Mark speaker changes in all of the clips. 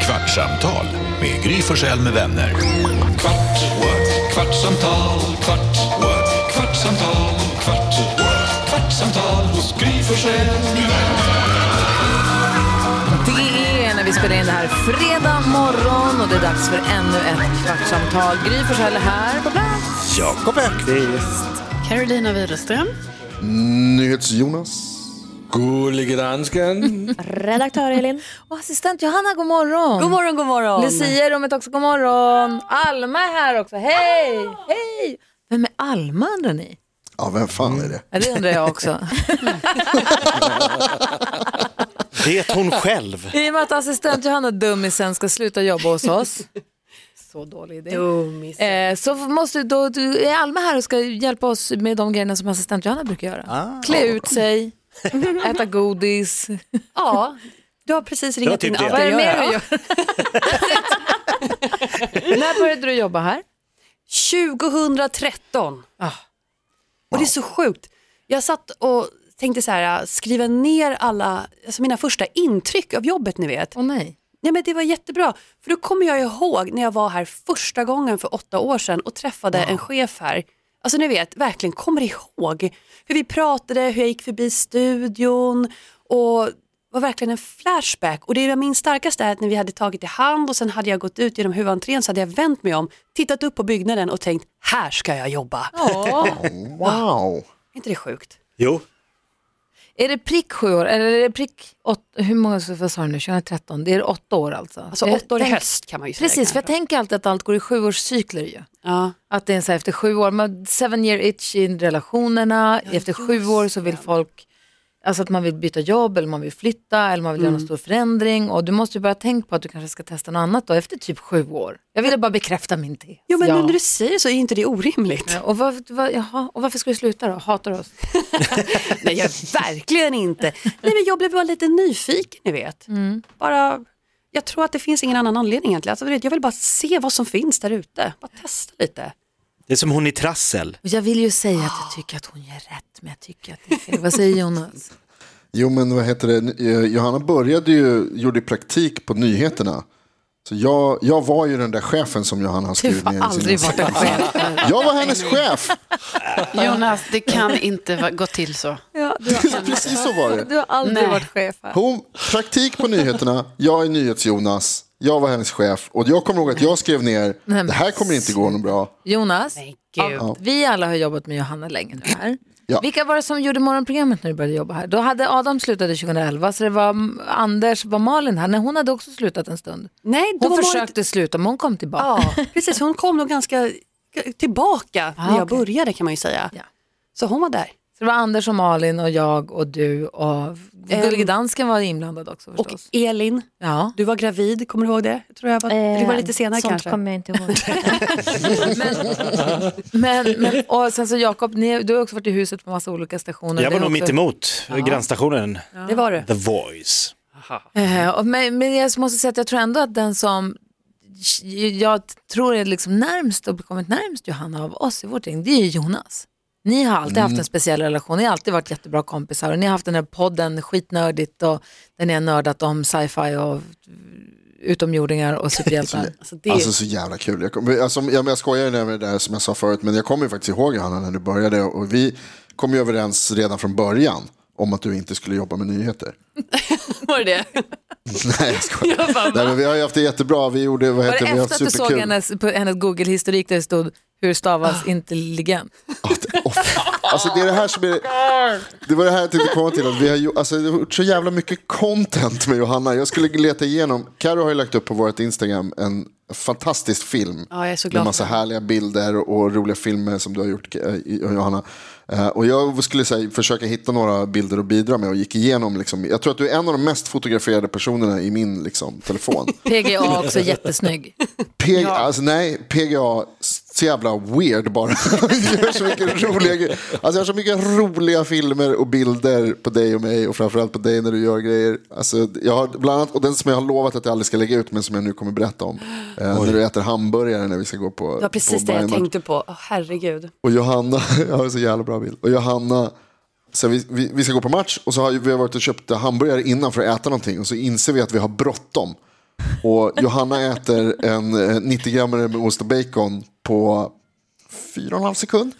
Speaker 1: Kvartsamtal med Gry Forssell med vänner. Kvart, what? kvartsamtal, kvart, what? kvartsamtal, kvart, what? kvartsamtal hos Gry Forssell med vänner.
Speaker 2: Det är när vi spelar in det här fredag morgon och det är dags för ännu ett kvartsamtal. Gry Forssell är här på plats.
Speaker 3: Jakob Öqvist.
Speaker 4: Carolina Widerström.
Speaker 5: NyhetsJonas.
Speaker 3: Gullige dansken.
Speaker 6: Redaktör Elin.
Speaker 2: Och assistent Johanna, god morgon.
Speaker 4: God morgon, god morgon.
Speaker 2: Lucia i rummet också, god morgon. Alma är här också, hej! Hej! Vem är Alma undrar ni?
Speaker 5: Ja, vem fan är det?
Speaker 2: Ja, det undrar jag också.
Speaker 7: Vet hon själv?
Speaker 2: I och med att assistent Johanna Dummisen ska sluta jobba hos oss så dålig idé. Eh, så måste då, du, är Alma här och ska hjälpa oss med de grejerna som assistent Johanna brukar göra. Klä ut sig, äta godis.
Speaker 4: Ja, du har precis
Speaker 7: var
Speaker 4: ringat
Speaker 7: typ
Speaker 4: in
Speaker 7: det.
Speaker 4: alla.
Speaker 2: Vad är det
Speaker 4: jag
Speaker 2: mer
Speaker 4: gör.
Speaker 2: du gör? När började du jobba här?
Speaker 4: 2013. Ah. Och det är så sjukt. Jag satt och tänkte så här, skriva ner alla, alltså mina första intryck av jobbet ni vet.
Speaker 2: Åh nej.
Speaker 4: Nej men det var jättebra, för då kommer jag ihåg när jag var här första gången för åtta år sedan och träffade en chef här. Alltså ni vet, verkligen kommer ihåg hur vi pratade, hur jag gick förbi studion och var verkligen en flashback. Och det jag minns starkast är att när vi hade tagit i hand och sen hade jag gått ut genom huvudentrén så hade jag vänt mig om, tittat upp på byggnaden och tänkt här ska jag jobba.
Speaker 2: Mm.
Speaker 5: Wow.
Speaker 4: Är inte det sjukt?
Speaker 7: Jo.
Speaker 2: Är det prick sju år, eller är det prick åtta, hur många, vad sa du nu, 2013? Det är åtta år alltså?
Speaker 4: Alltså
Speaker 2: Jag
Speaker 4: åtta år i
Speaker 2: tänk-
Speaker 4: höst kan man ju säga.
Speaker 2: Precis, för jag
Speaker 4: kanske.
Speaker 2: tänker alltid att allt går i sjuårscykler ju.
Speaker 4: ja.
Speaker 2: Att det är så här, efter sju år, man, seven year itch i relationerna, efter sju år så vill folk, alltså att man vill byta jobb eller man vill flytta eller man vill göra någon stor förändring och du måste ju börja tänka på att du kanske ska testa något annat då efter typ sju år. Jag ville bara bekräfta min tes.
Speaker 4: Jo men
Speaker 2: Ja.
Speaker 4: nu när du säger så är ju inte det orimligt.
Speaker 2: Och, var, var, jaha, och varför ska du sluta då? Hatar du oss?
Speaker 4: Nej, jag verkligen inte. Nej, men jag blev bara lite nyfiken, ni vet. Bara, jag tror att det finns ingen annan anledning egentligen. Alltså, du vet, jag vill bara se vad som finns där ute. Bara testa lite.
Speaker 7: Det är som hon i Trassel.
Speaker 2: Och jag vill ju säga att jag tycker att hon gör rätt, men jag tycker att det är fel. Vad säger Jonas?
Speaker 5: Jo, men vad heter det? Eh, Johanna började ju, gjorde praktik på nyheterna. Så jag, jag var ju den där chefen som Johanna har
Speaker 2: Du
Speaker 5: skrivit
Speaker 2: har
Speaker 5: ner i
Speaker 2: aldrig
Speaker 5: sin
Speaker 2: varit en chef.
Speaker 5: Jag var hennes chef.
Speaker 8: Jonas, det kan inte va- gå till så.
Speaker 5: Precis så var det.
Speaker 2: Du har aldrig
Speaker 8: Nej.
Speaker 2: varit chef här.
Speaker 5: Hon, praktik på nyheterna, jag är NyhetsJonas, jag var hennes chef och jag kommer ihåg att jag skrev ner,
Speaker 2: men-
Speaker 5: det här kommer inte gå något bra.
Speaker 2: Jonas,
Speaker 4: Men gud.
Speaker 2: av- eh, vi alla har jobbat med Johanna länge nu här.
Speaker 5: Ja.
Speaker 2: Vilka var det som gjorde morgonprogrammet när du började jobba här? Då hade Adam slutade 2011, så det var mm, Anders, var Malin här? Nej, hon hade också slutat en stund.
Speaker 4: Nej, då
Speaker 2: Hon
Speaker 4: var Marit-
Speaker 2: försökte sluta, men hon kom tillbaka.
Speaker 4: Ja, precis. Hon kom nog ganska g- tillbaka när jag
Speaker 2: okej.
Speaker 4: började kan man ju säga.
Speaker 2: Ja.
Speaker 4: Så hon var där.
Speaker 2: Så det var Anders och Malin och jag och du och Gullige Dansken var inblandad också
Speaker 4: Och
Speaker 2: förstås.
Speaker 4: Elin,
Speaker 2: ja.
Speaker 4: du var gravid, kommer du ihåg det? Jag tror jag var, det var lite senare
Speaker 6: Eh, sånt
Speaker 4: kanske.
Speaker 6: kommer jag inte ihåg.
Speaker 2: Men, men, och sen så Jakob, ni- du har också varit i huset på massa olika stationer.
Speaker 7: Jag
Speaker 2: Det
Speaker 7: var
Speaker 2: är
Speaker 7: nog
Speaker 2: också-
Speaker 7: mittemot grannstationen
Speaker 4: Det var du.
Speaker 7: The Voice.
Speaker 5: Mm.
Speaker 2: Eh, och men, men jag måste säga att jag tror ändå att den som jag tror är liksom närmst och kommit närmst Johanna av oss i vårt gäng, det är ju Jonas. Ni har alltid
Speaker 5: Mm.
Speaker 2: haft en speciell relation, ni har alltid varit jättebra kompisar och ni har haft den här podden skitnördigt och där ni har nördat om sci-fi och utomjordingar och superhjältar.
Speaker 4: Alltså, det,
Speaker 5: Alltså så jävla kul. Jag, kom, alltså, jag, men jag skojar ju med det där som jag sa förut, men jag kommer ju faktiskt ihåg Johanna när du började och vi kom ju överens redan från början om att du inte skulle jobba med nyheter.
Speaker 4: var det det?
Speaker 5: Nej, jag skojar. Nej, men vi har ju haft det jättebra. Vi gjorde, vad
Speaker 2: Var
Speaker 5: heter
Speaker 2: det
Speaker 5: vi har
Speaker 2: efter
Speaker 5: haft
Speaker 2: att du såg
Speaker 5: superkul. Ah.
Speaker 2: hennes, på hennes Google-historik där det stod hur stavas intelligent?
Speaker 5: Åh, Alltså det är det här som är, det var det här jag tänkte komma till. Att vi har ju, alltså, det har gjort så jävla mycket content med Johanna. Jag skulle leta igenom, Karo har ju lagt upp på vårt Instagram en fantastisk film.
Speaker 4: Ja, jag är så
Speaker 5: Med
Speaker 4: glad
Speaker 5: massa härliga bilder och roliga filmer som du har gjort eh, i- Johanna. Eh, Och jag skulle säga, försöka hitta några bilder att bidra med och gick igenom. Liksom, jag tror att du är en av de mest fotograferade personerna i min liksom, telefon.
Speaker 2: PGA också jättesnygg.
Speaker 5: PGA, alltså nej, PGA, så jävla weird bara. Jag gör så mycket roliga grejer. Alltså jag har så mycket roliga filmer och bilder på dig och mig och framförallt på dig när du gör grejer. Alltså jag har bland annat, och den som jag har lovat att jag aldrig ska lägga ut men som jag nu kommer berätta om. Eh, när du äter hamburgare när vi ska gå på
Speaker 4: Det var precis
Speaker 5: på
Speaker 4: det jag
Speaker 5: Bayern-match.
Speaker 4: tänkte på. Åh, herregud.
Speaker 5: Och Johanna, jag har en så jävla bra bild. Och Johanna, så vi, vi, vi ska gå på match och så har ju- vi har varit och köpt hamburgare innan för att äta någonting och så inser vi att vi har bråttom. Och Johanna äter en eh, 90-grammare med ost och bacon på fyra och en halv sekund.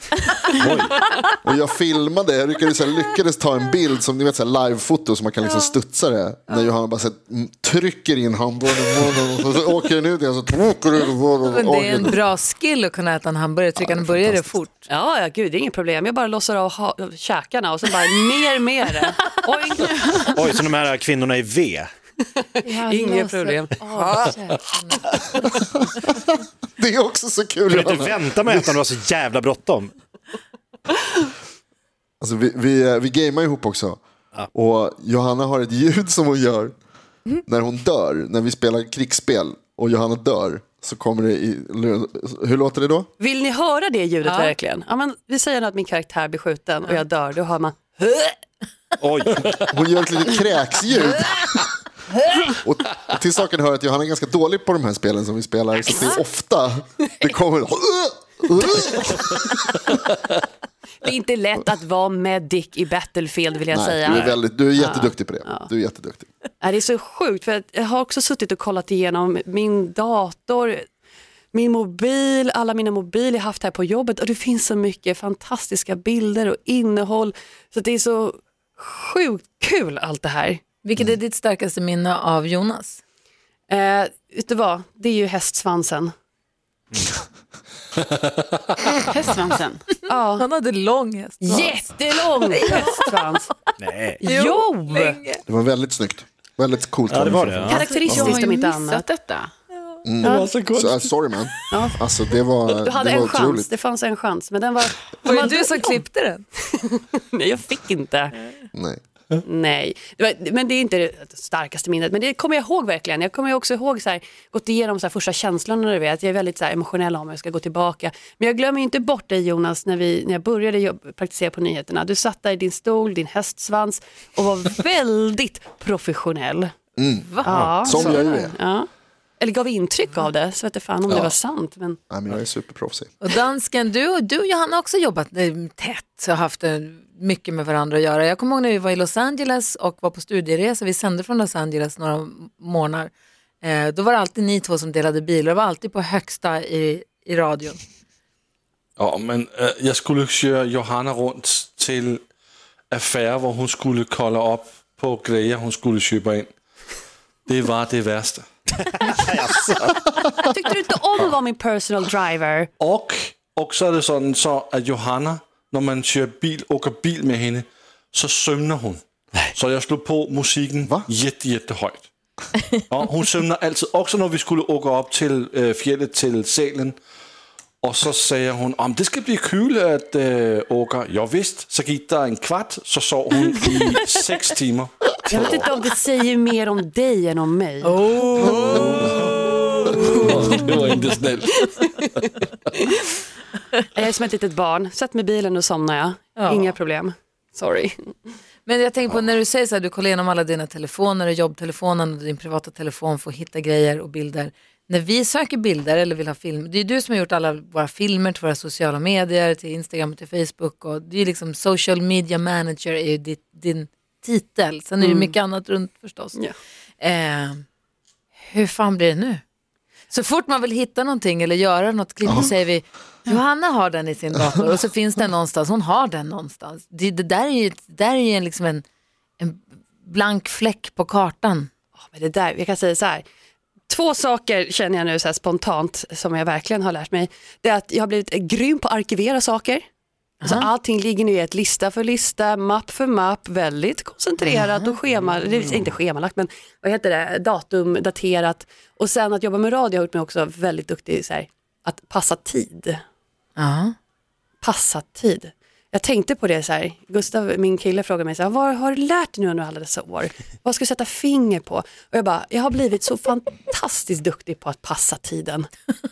Speaker 5: Och jag filmade, jag lyckades, så här, lyckades ta en bild som ni vet så här, livefoto som man kan liksom studsa det. När Johanna bara så här, mm, trycker in hamburgaren i munnen och så åker den ut igen. Så trycker den ut
Speaker 2: Men
Speaker 5: och
Speaker 2: det är en
Speaker 5: åker.
Speaker 2: bra skill att kunna äta en hamburgare, trycka en burgare fort.
Speaker 4: Ja, ja, gud, det är inget problem. Jag bara lossar av ha- käkarna och sen bara mer, mer. Oj,
Speaker 7: Oj, som de här kvinnorna i V.
Speaker 4: inget problem.
Speaker 5: Det är också så kul.
Speaker 7: Kunde
Speaker 5: Johanna.
Speaker 7: inte vänta med att äta om det var så jävla bråttom.
Speaker 5: Alltså, vi, vi, eh, vi gamear ihop också. Och Johanna har ett ljud som hon gör när hon dör. När vi spelar krigsspel och Johanna dör så kommer det i... Hur låter det då?
Speaker 4: Vill ni höra det ljudet verkligen? Ja, men vi säger nu att min karaktär blir skjuten och jag dör, då hör man
Speaker 7: Oj,
Speaker 5: Hon gör ett litet kräksljud. Och och till saken hör att Johanna är ganska dålig på de här spelen som vi spelar. Så det är ofta det kommer...
Speaker 4: det är inte lätt att vara med Dick i Battlefield vill jag
Speaker 5: Nej,
Speaker 4: säga.
Speaker 5: du, är väldigt, du är jätteduktig på det. Du är jätteduktig.
Speaker 4: Nej, det är så sjukt för att jag har också suttit och kollat igenom min dator, min mobil, alla mina mobiler jag haft här på jobbet och det finns så mycket fantastiska bilder och innehåll. Så det är så sjukt kul allt det här.
Speaker 2: Vilket är ditt starkaste minne av Jonas?
Speaker 4: Eh, vet du vad, det är ju hästsvansen.
Speaker 8: Hästsvansen.
Speaker 4: Ja,
Speaker 2: Han hade lång häst.
Speaker 4: jättelång hästsvans.
Speaker 7: nej.
Speaker 4: Jo!
Speaker 5: Det var väldigt snyggt. Väldigt coolt.
Speaker 7: Ja, det var det. Ja.
Speaker 8: Jag har
Speaker 4: Karaktäristiskt
Speaker 8: ju
Speaker 4: om inte
Speaker 8: missat
Speaker 4: annat.
Speaker 8: detta.
Speaker 5: Så, äh, sorry man. Alltså, det var,
Speaker 4: Du hade
Speaker 5: det var
Speaker 4: en chans,
Speaker 5: otroligt.
Speaker 4: det fanns en chans, men den var...
Speaker 2: Var det du som klippte den?
Speaker 4: Nej, jag fick inte.
Speaker 5: Nej.
Speaker 4: Nej, det var, men det är inte det starkaste minnet. Men det kommer jag ihåg verkligen. Jag kommer ju också ihåg, så här, gått igenom så här, första känslorna, du vet. Jag är väldigt så här, emotionell om jag ska gå tillbaka. Men jag glömmer ju inte bort dig Jonas, när, vi, när jag började jobb, praktisera på nyheterna. Du satt där i din stol, din hästsvans och var väldigt professionell. Ja,
Speaker 5: Mm. Som
Speaker 4: så-
Speaker 5: jag ju är.
Speaker 4: Ja. Eller gav intryck av det, så vet jag fan om det var sant. Men...
Speaker 5: Nej, men jag är superproffsig.
Speaker 2: Och dansken, du och, du och Johanna har också jobbat eh, tätt och haft eh, mycket med varandra att göra. Jag kommer ihåg när vi var i Los Angeles och var på studieresa. Vi sände från Los Angeles några månader. Eh, då var det alltid ni två som delade bil och det var alltid på högsta i, i radion.
Speaker 3: Ja, men øh, jeg skulle køre Johanna rundt til affære, hvor hun skulle kolde op på grejer, hun skulle købe ind. Det var det værste.
Speaker 4: Tyckte du inte om att vara min personal driver?
Speaker 3: Og, og så er det sådan så, at Johanna, når man kører bil, åker bil med hende, så sømner hun. Så jeg slog på musikken jette, jette højt. Og hun sømner altid, også når vi skulle åke op til øh, fjellet til salen. Og så sagde hun, om det skal blive kul at øh, åke. Jo vist, så gik der en kvart, så sov hun i 6 timer.
Speaker 4: Jag vet inte om det säger mer om dig än om mig.
Speaker 3: Det var ikke snällt.
Speaker 4: Jag är som ett litet barn. Sätt mig i bilen och somnar jag. Inga problem. Sorry.
Speaker 2: Men jag tänker på när du säger så här, du kollar igenom alla dina telefoner och jobbtelefonen och din privata telefon för att hitta grejer och bilder. När vi söker bilder eller vill ha film, det är du som har gjort alla våra filmer till våra sociala medier, till Instagram och till Facebook. Och det är liksom social media manager är ju ditt, din titel. Sen är det ju mycket annat runt förstås.
Speaker 4: Ja.
Speaker 2: Eh, hur fan blir det nu? Så fort man vill hitta någonting eller göra något klipp så säger vi Johanna har den i sin dator och så finns den någonstans, hon har den någonstans. Det, det där är ju, det där är ju en, liksom en, en blank fläck på kartan.
Speaker 4: Ja, Men det där, jag kan säga så här. Två saker känner jag nu så här spontant som jag verkligen har lärt mig. Det är att jag har blivit grym på att arkivera saker. Alltså, allting ligger nu i ett lista för lista, mapp för mapp, väldigt koncentrerat och schema, det är inte schemalagt men vad heter det, datum, daterat. Och sen att jobba med radio har gjort mig också väldigt duktig så här, att passa tid.
Speaker 2: Ja.
Speaker 4: passa tid. Jag tänkte på det så här, Gustav, min kille frågade mig så här, vad har du lärt dig nu under alla dessa år? Vad ska du sätta finger på? Och jag bara, jag har blivit så fantastiskt duktig på att passa tiden.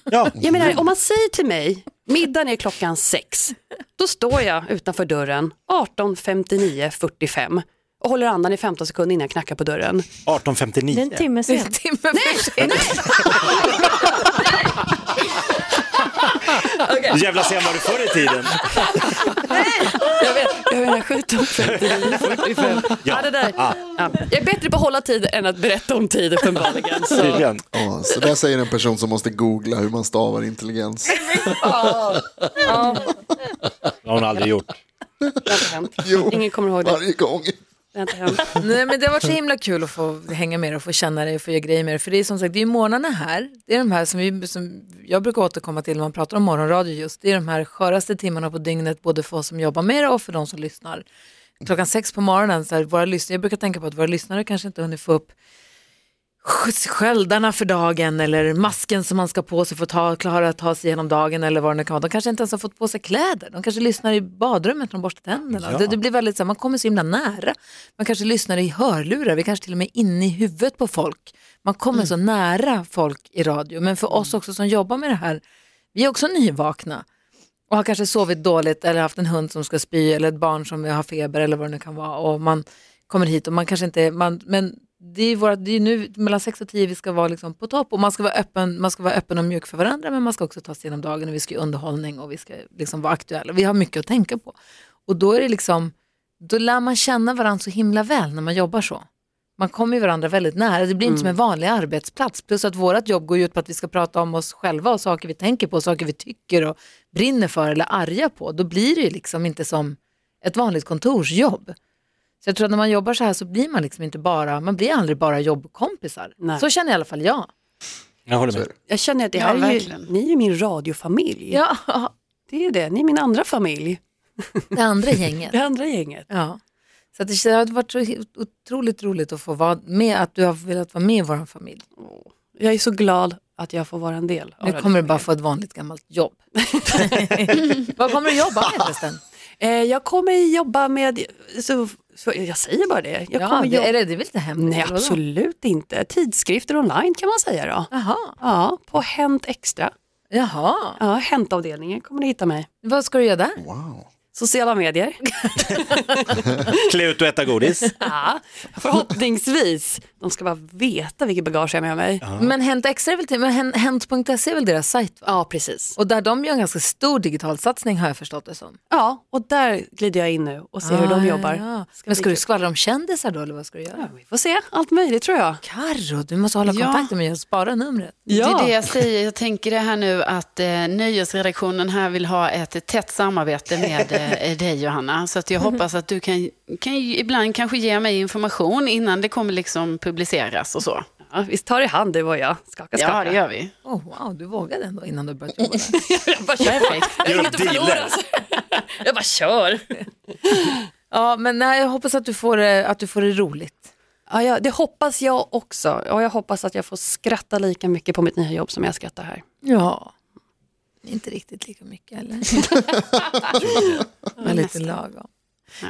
Speaker 7: Ja.
Speaker 4: Jag menar, om man säger till mig, middagen är klockan sex, då står jag utanför dörren 18.59.45 och håller andan i 15 sekunder innan jag knackar på dörren.
Speaker 6: Det är en
Speaker 7: 18.59.
Speaker 6: timme sen.
Speaker 2: Timme för sent.
Speaker 7: Jävla sen var du förr i tiden.
Speaker 4: Jag vet, jag har den här sjukdomen 59, 45. Ja. det där.
Speaker 7: Ah.
Speaker 4: Ja. Jag är bättre på att hålla tid än att berätta om tid uppenbarligen. Så.
Speaker 7: Tydligen.
Speaker 5: Ja, så där säger en person som måste googla hur man stavar intelligens.
Speaker 7: Det har hon aldrig gjort.
Speaker 4: Det har inte hänt.
Speaker 5: Jo.
Speaker 4: Ingen kommer ihåg det.
Speaker 5: Varje gång.
Speaker 4: Det har inte hänt.
Speaker 2: Nej, men det har varit så himla kul att få hänga med er och få känna dig och få göra grejer med er. För det är som sagt, det är ju morgnarna här. Det är de här som, vi, som jag brukar återkomma till när man pratar om morgonradio just. Det är de här sköraste timmarna på dygnet, både för oss som jobbar med det och för de som lyssnar. Klockan sex på morgonen, så här, våra lyssnare, jag brukar tänka på att våra lyssnare kanske inte hunnit få upp sk- sköldarna för dagen eller masken som man ska på sig för att ta, klara att ta sig igenom dagen eller vad det nu kan vara. De kanske inte ens har fått på sig kläder. De kanske lyssnar i badrummet när de borstar tänderna. Det, det blir väldigt så här, man kommer så himla nära. Man kanske lyssnar i hörlurar. Vi kanske till och med är inne i huvudet på folk. Man kommer så nära folk i radio. Men för oss också som jobbar med det här, vi är också nyvakna och har kanske sovit dåligt eller haft en hund som ska spy eller ett barn som har feber eller vad det nu kan vara och man kommer hit och man kanske inte, man, men det är, ju våra, det är ju nu mellan 6 och 10 vi ska vara liksom på topp och man ska, vara öppen, man ska vara öppen och mjuk för varandra men man ska också ta sig igenom dagen och vi ska ju underhållning och vi ska liksom vara aktuella. Vi har mycket att tänka på och då är det liksom, då lär man känna varandra så himla väl när man jobbar så. Man kommer ju varandra väldigt nära, det blir inte som en vanlig arbetsplats. Plus att vårt jobb går ju ut på att vi ska prata om oss själva och saker vi tänker på, saker vi tycker och brinner för eller arga på. Då blir det ju liksom inte som ett vanligt kontorsjobb. Så jag tror att när man jobbar så här så blir man liksom inte bara, man blir aldrig bara jobbkompisar.
Speaker 4: Nej.
Speaker 2: Så känner i alla fall jag.
Speaker 7: Jag håller med.
Speaker 4: Jag känner att det här
Speaker 8: Ja,
Speaker 4: är ju,
Speaker 8: verkligen.
Speaker 4: ni är ju min radiofamilj.
Speaker 2: Ja,
Speaker 4: Det är det, ni är min andra familj.
Speaker 2: det andra gänget.
Speaker 4: Det andra gänget.
Speaker 2: Ja. Så att det det har varit så he- otroligt roligt att få vara med, att du har velat vara med i vår familj.
Speaker 4: Jag är så glad att jag får vara en del av
Speaker 2: Nu
Speaker 4: det.
Speaker 2: kommer du bara få ett vanligt gammalt jobb. Vad kommer du jobba med förresten?
Speaker 4: Eh, jag kommer jobba med, så, så, jag säger bara det. Jag
Speaker 2: Ja,
Speaker 4: kommer
Speaker 2: det,
Speaker 4: jobba,
Speaker 2: är det, det är väl inte hemligt?
Speaker 4: Nej,
Speaker 2: eller vadå?
Speaker 4: absolut inte. Tidskrifter online kan man säga då.
Speaker 2: Jaha,
Speaker 4: Ja, på Hänt Extra.
Speaker 2: jaha.
Speaker 4: Ja, Hänt-avdelningen kommer ni hitta mig.
Speaker 2: Vad ska du göra där?
Speaker 5: Wow.
Speaker 4: Sociala medier.
Speaker 7: Klä ut och äta godis.
Speaker 4: Ja, förhoppningsvis. De ska bara veta vilket bagage jag har med mig.
Speaker 2: Men Hänt Extra är väl till, men Hen- Hent.se är väl deras sajt? Va?
Speaker 4: Ja, precis.
Speaker 2: Och där de gör en ganska stor digital satsning har jag förstått det som. Ah,
Speaker 4: Ja, och där glider jag in nu och ser hur de jobbar.
Speaker 2: Ja, ja. Men ska du skvallra om kändisar då eller vad ska du göra?
Speaker 4: Vi får se, allt möjligt tror jag.
Speaker 2: Karro, du måste hålla
Speaker 8: Ja.
Speaker 2: kontakten med och spara numret.
Speaker 8: Det är det jag säger. Jag tänker det här nu att eh, nyhetsredaktionen här vill ha ett tätt samarbete med eh, dig Johanna. Så att jag
Speaker 2: Mhm.
Speaker 8: hoppas att du kan, kan ju ibland kanske ge mig information innan det kommer liksom publiceras och så.
Speaker 4: Ja, vi tar i hand du och jag. Skaka, skaka.
Speaker 8: Ja, det gör vi.
Speaker 2: Oh, wow, du vågade ändå innan du började jobba där.
Speaker 4: Jag bara kör. Jag
Speaker 7: Gör
Speaker 4: vill
Speaker 7: en
Speaker 4: inte förlora.
Speaker 7: dealer.
Speaker 4: Jag bara kör.
Speaker 2: Ja, men nej, jag hoppas att du får, det- att du får det roligt.
Speaker 4: Ja, ja, det hoppas jag också. Och jag hoppas att jag får skratta lika mycket på mitt nya jobb som jag skrattar här.
Speaker 2: Ja. Inte riktigt lika mycket eller? Men lite lagom.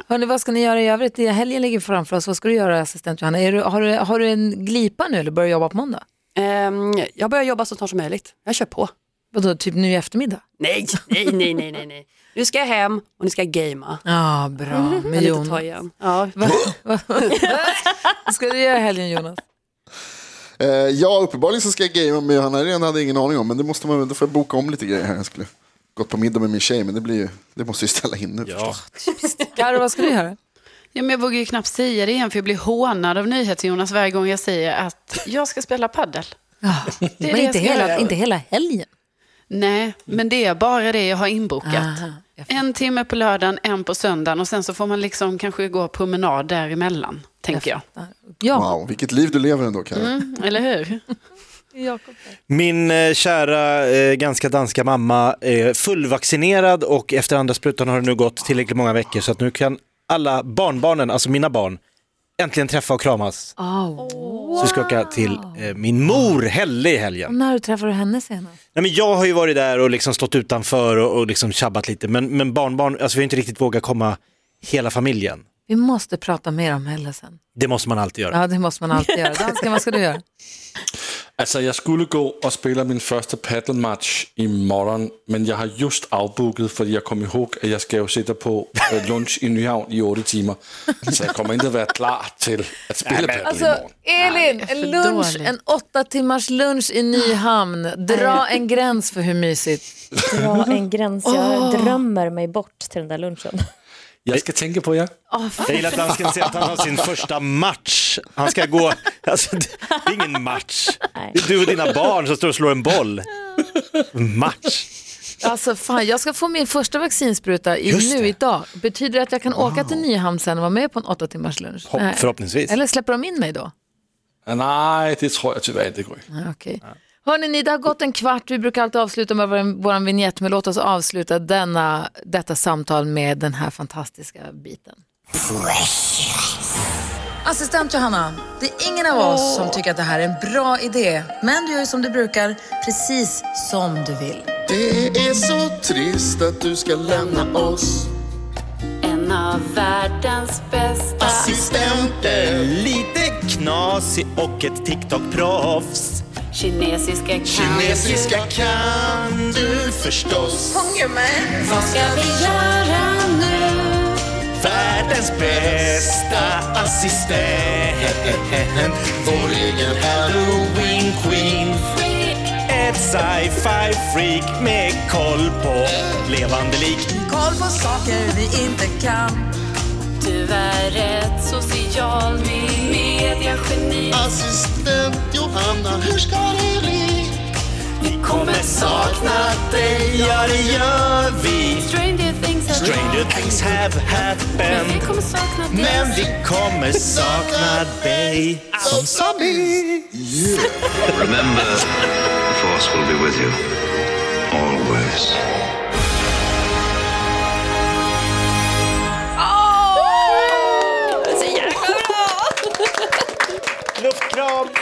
Speaker 2: Hörrni, vad ska ni göra i övrigt? Det- Helgen ligger framför oss. Vad ska du göra, assistent Johanna? Är du, har, du, har du en glipa nu eller börjar du jobba på måndag?
Speaker 4: Ehm, jag börjar jobba så snart som möjligt. Jag kör på.
Speaker 2: Vadå, typ nu i eftermiddag?
Speaker 4: Nej, nej, nej, nej, nej, nej. Nu ska jag hem och nu ska jag gamea.
Speaker 2: Ja, bra. Med
Speaker 4: Lite ta
Speaker 2: Jonas.
Speaker 4: igen. Ja,
Speaker 2: Va? Va? Vad ska du göra i helgen Jonas?
Speaker 5: Eh, ja, uppenbarligen så ska jag gamea med Johanna Rehn, hade jag ingen aning om. Men det måste man, då får jag boka om lite grejer här. Jag skulle gått på middag med min tjej, men det, blir ju, det måste ju ställa in nu.
Speaker 7: Ja.
Speaker 2: Karo, vad ska du göra?
Speaker 8: Ja, men jag vågar ju knappt säga det igen för jag blir hånad av NyhetsJonas varje gång jag säger att jag ska spela paddel. det
Speaker 2: Men
Speaker 8: jag
Speaker 2: inte
Speaker 8: ska
Speaker 2: hela,
Speaker 8: göra.
Speaker 2: inte hela helgen.
Speaker 8: Nej, men det är bara det jag har inbokat.
Speaker 2: Aha, jag fattar.
Speaker 8: en timme på lördagen, en på söndagen och sen så får man liksom kanske gå promenad däremellan, tänker jag.
Speaker 2: Ja,
Speaker 5: Wow, vilket liv du lever ändå, Karin.
Speaker 8: Mm, eller hur?
Speaker 7: Min eh, kära, eh, ganska danska mamma är fullvaccinerad och efter andra sprutan har det nu gått tillräckligt många veckor så att nu kan alla barnbarnen, alltså mina barn, äntligen träffa och kramas. Så vi ska åka till eh, min mor, Helle, i helgen.
Speaker 2: när du träffade henne senast?
Speaker 7: Nej, men jag har ju varit där och liksom stått utanför och, och liksom tjabbat lite, men, men barnbarn, alltså vi har inte riktigt vågat komma hela familjen.
Speaker 2: Vi måste prata mer om Helle sen.
Speaker 7: Det måste man alltid göra.
Speaker 2: Ja, det måste man alltid göra. Dansken, vad ska du göra?
Speaker 3: Altså, jeg skulle gå og spille min første paddlematch i morgen, men jeg har just afbooket, fordi jeg kom i hug, at jeg skal jo sidde på øh, lunch i Nyhavn i 8 timer. Så jeg kommer ikke at være klar til at spille paddle i
Speaker 2: Alltså,
Speaker 3: morgen.
Speaker 2: Elin,
Speaker 8: för
Speaker 2: en lunch,
Speaker 8: dåligt.
Speaker 2: en åtta timmars lunch i Nyhamn. Dra en gräns för hur mysigt.
Speaker 6: Dra en gräns. Jag drömmer mig bort till den där lunchen.
Speaker 3: Jeg skal tænke på jer.
Speaker 7: Jag gillar att dansken säger att han har sin första match. Han ska gå, alltså det det är ingen match.
Speaker 6: Nej.
Speaker 7: Det är du och dina barn som står och slår en boll. Match.
Speaker 2: Alltså, fan, jag ska få min första vaccinspruta i,
Speaker 7: Just
Speaker 2: nu
Speaker 7: det.
Speaker 2: idag. Betyder det att jag kan åka till Nyhamn sen och vara med på en åtta timmars lunch?
Speaker 7: Hopp,
Speaker 2: Nej.
Speaker 7: förhoppningsvis.
Speaker 2: Eller släpper de in mig då?
Speaker 3: Ah, Nej, det tror jeg tyvärr inte, Gry.
Speaker 2: Ja, Okej. Hörni, ni, det har gått en kvart. Vi brukar alltid avsluta med vår, vår vignett, men låt oss avsluta denna, detta samtal med den här fantastiska biten. Assistent Johanna, det är ingen av oss som tycker att det här är en bra idé, men du gör ju som du brukar, precis som du vill.
Speaker 5: Det är så trist att du ska lämna oss.
Speaker 8: En av världens bästa
Speaker 5: Assistenter.
Speaker 7: Lite knasig och ett TikTok-proffs.
Speaker 8: kinesiska kan
Speaker 5: Kinesiska kan du förstås.
Speaker 8: Vad ska vi göra nu?
Speaker 7: Världens bästa assistent.
Speaker 5: Vår egen halloween queen.
Speaker 7: Ett sci-fi freak med koll på levande lik.
Speaker 8: Du är ett social me- mediageni.
Speaker 5: Assistent Johanna, hur ska det bli?
Speaker 7: Vi kommer sakna dig, ja det gör vi.
Speaker 8: Stranger things have
Speaker 7: Stranger things have
Speaker 8: Men vi
Speaker 7: happened.
Speaker 8: kommer sakna dig.
Speaker 7: Men vi kommer sakna dig.
Speaker 5: Som Sammy.
Speaker 9: Remember, the Force will be with you. Always.
Speaker 7: Luftkram!